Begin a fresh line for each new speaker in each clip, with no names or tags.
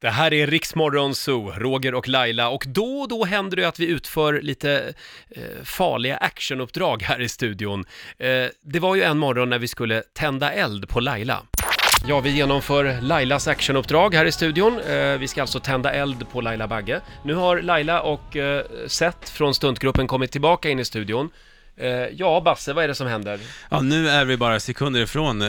Det här är Riksmorgon Zoo, Roger och Laila och då och då händer det att vi utför lite eh, farliga actionuppdrag här i studion. Eh, det var ju en morgon när vi skulle tända eld på Laila. Ja, vi genomför Lailas actionuppdrag här i studion. Eh, vi ska alltså tända eld på Laila Bagge. Nu har Laila och eh, Seth från stuntgruppen kommit tillbaka in i studion. Eh, ja, Basse, vad är det som händer?
Ja, nu är vi bara sekunder ifrån eh,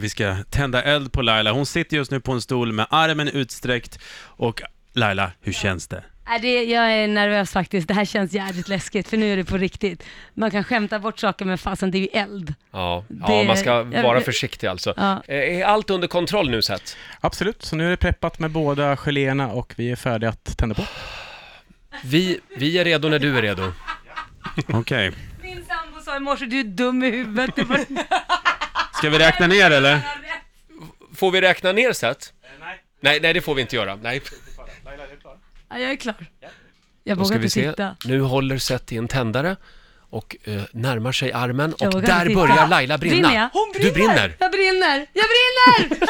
vi ska tända eld på Laila. Hon sitter just nu på en stol med armen utsträckt och Laila, hur känns det?
Nej, Äh, Det, jag är nervös faktiskt. Det här känns jävligt läskigt för nu är det på riktigt. Man kan skämta bort saker men fasen det är ju eld.
Ja, ja
Det-
man ska
jag-
vara försiktig alltså.
Ja.
Eh, är allt under kontroll nu, Seth?
Absolut, så nu är det preppat med båda geléerna och vi är färdiga att tända på.
Vi, vi är redo när du är redo.
Okej.
Min sambo sa i morse du är dum i huvudet. Det var
Ska vi räkna ner eller?
Får vi räkna ner Seth? Nej, nej det får vi inte göra. Nej.
ja, jag är klar. Jag
Då
vågar
ska vi
inte
se.
titta.
Nu håller Seth i en tändare och eh, närmar sig armen
Jag
och
vågar inte
där
titta.
börjar Laila brinna.
Brinner jag? Hon
Du brinner!
Jag brinner! Jag brinner!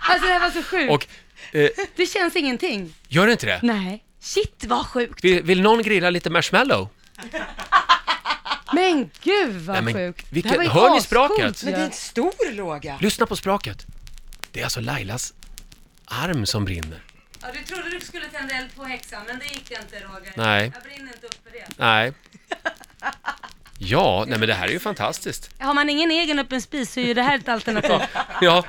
alltså det här var så sjukt.
Och eh,
Det känns ingenting.
gör inte det?
Nej. Shit vad sjukt.
Vill, vill någon grilla lite marshmallow?
Men gud vad
Nej, men
sjukt.
vilket-
Det här var ju
hör ni
ascoolt.
spraket?
Men
Ja.
det är en stor låga.
Lyssna på spraket. Det är alltså Lailas arm som brinner.
Ja, du trodde du skulle tända eld på häxan, men det gick inte Roger.
Nej.
Jag brinner inte upp för det.
Nej. Ja, nej men det här är ju fantastiskt.
Har man ingen egen öppen spis så är ju det här ett alternativ.
Ja.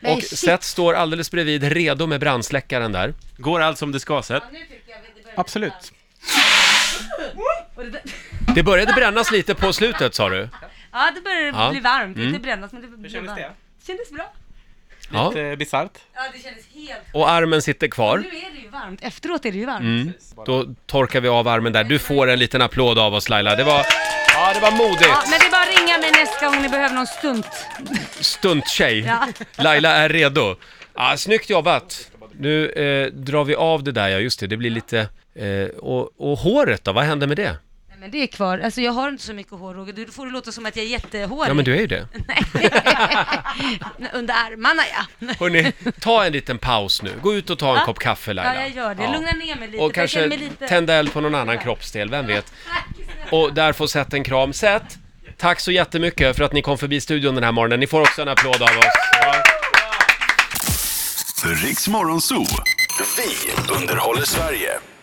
Nej,
Och
shit.
Seth står alldeles bredvid, redo med brandsläckaren där.
Går allt som det ska sett?
nu tycker jag vi börjar
Absolut.
Och det där-
Det började brännas lite på slutet sa du?
Ja, det börjar
Ja. Mm.
bli varmt. Det är Inte brännas, men det blir
kändes
varmt.
det?
kändes bra.
Ja.
Lite bisarrt.
Ja, det kändes helt...
Och armen sitter kvar.
Nu är det ju varmt. Efteråt är det ju varmt.
Mm. Då torkar vi av armen där. Du får en liten applåd av oss Laila. Det var, ja, det var
Ja,
modigt.
men det är bara att ringa mig nästa gång ni behöver någon stunt.
Stunttjej.
Ja.
Laila är redo. Ja, snyggt jobbat. Nu eh, drar vi av det där, ja just det, det blir lite... Eh, och, och håret då, vad händer med det?
Nej, men det är kvar. Alltså jag har inte så mycket hår Roger. Du får det låta som att jag är jättehårig.
Ja men du är ju det.
Under armarna ja.
Hörni, ta en liten paus nu. Gå ut och ta en kopp kaffe Laila.
Ja, jag gör det.
Ja.
Lugna ner mig lite.
Och
för jag känner
kanske
mig lite...
tända eld på någon annan kroppsdel, vem vet? Och där får Seth en kram. Seth, tack så jättemycket för att ni kom förbi studion den här morgonen. Ni får också en applåd av oss.
Riks Morgonzoo. Vi underhåller Sverige.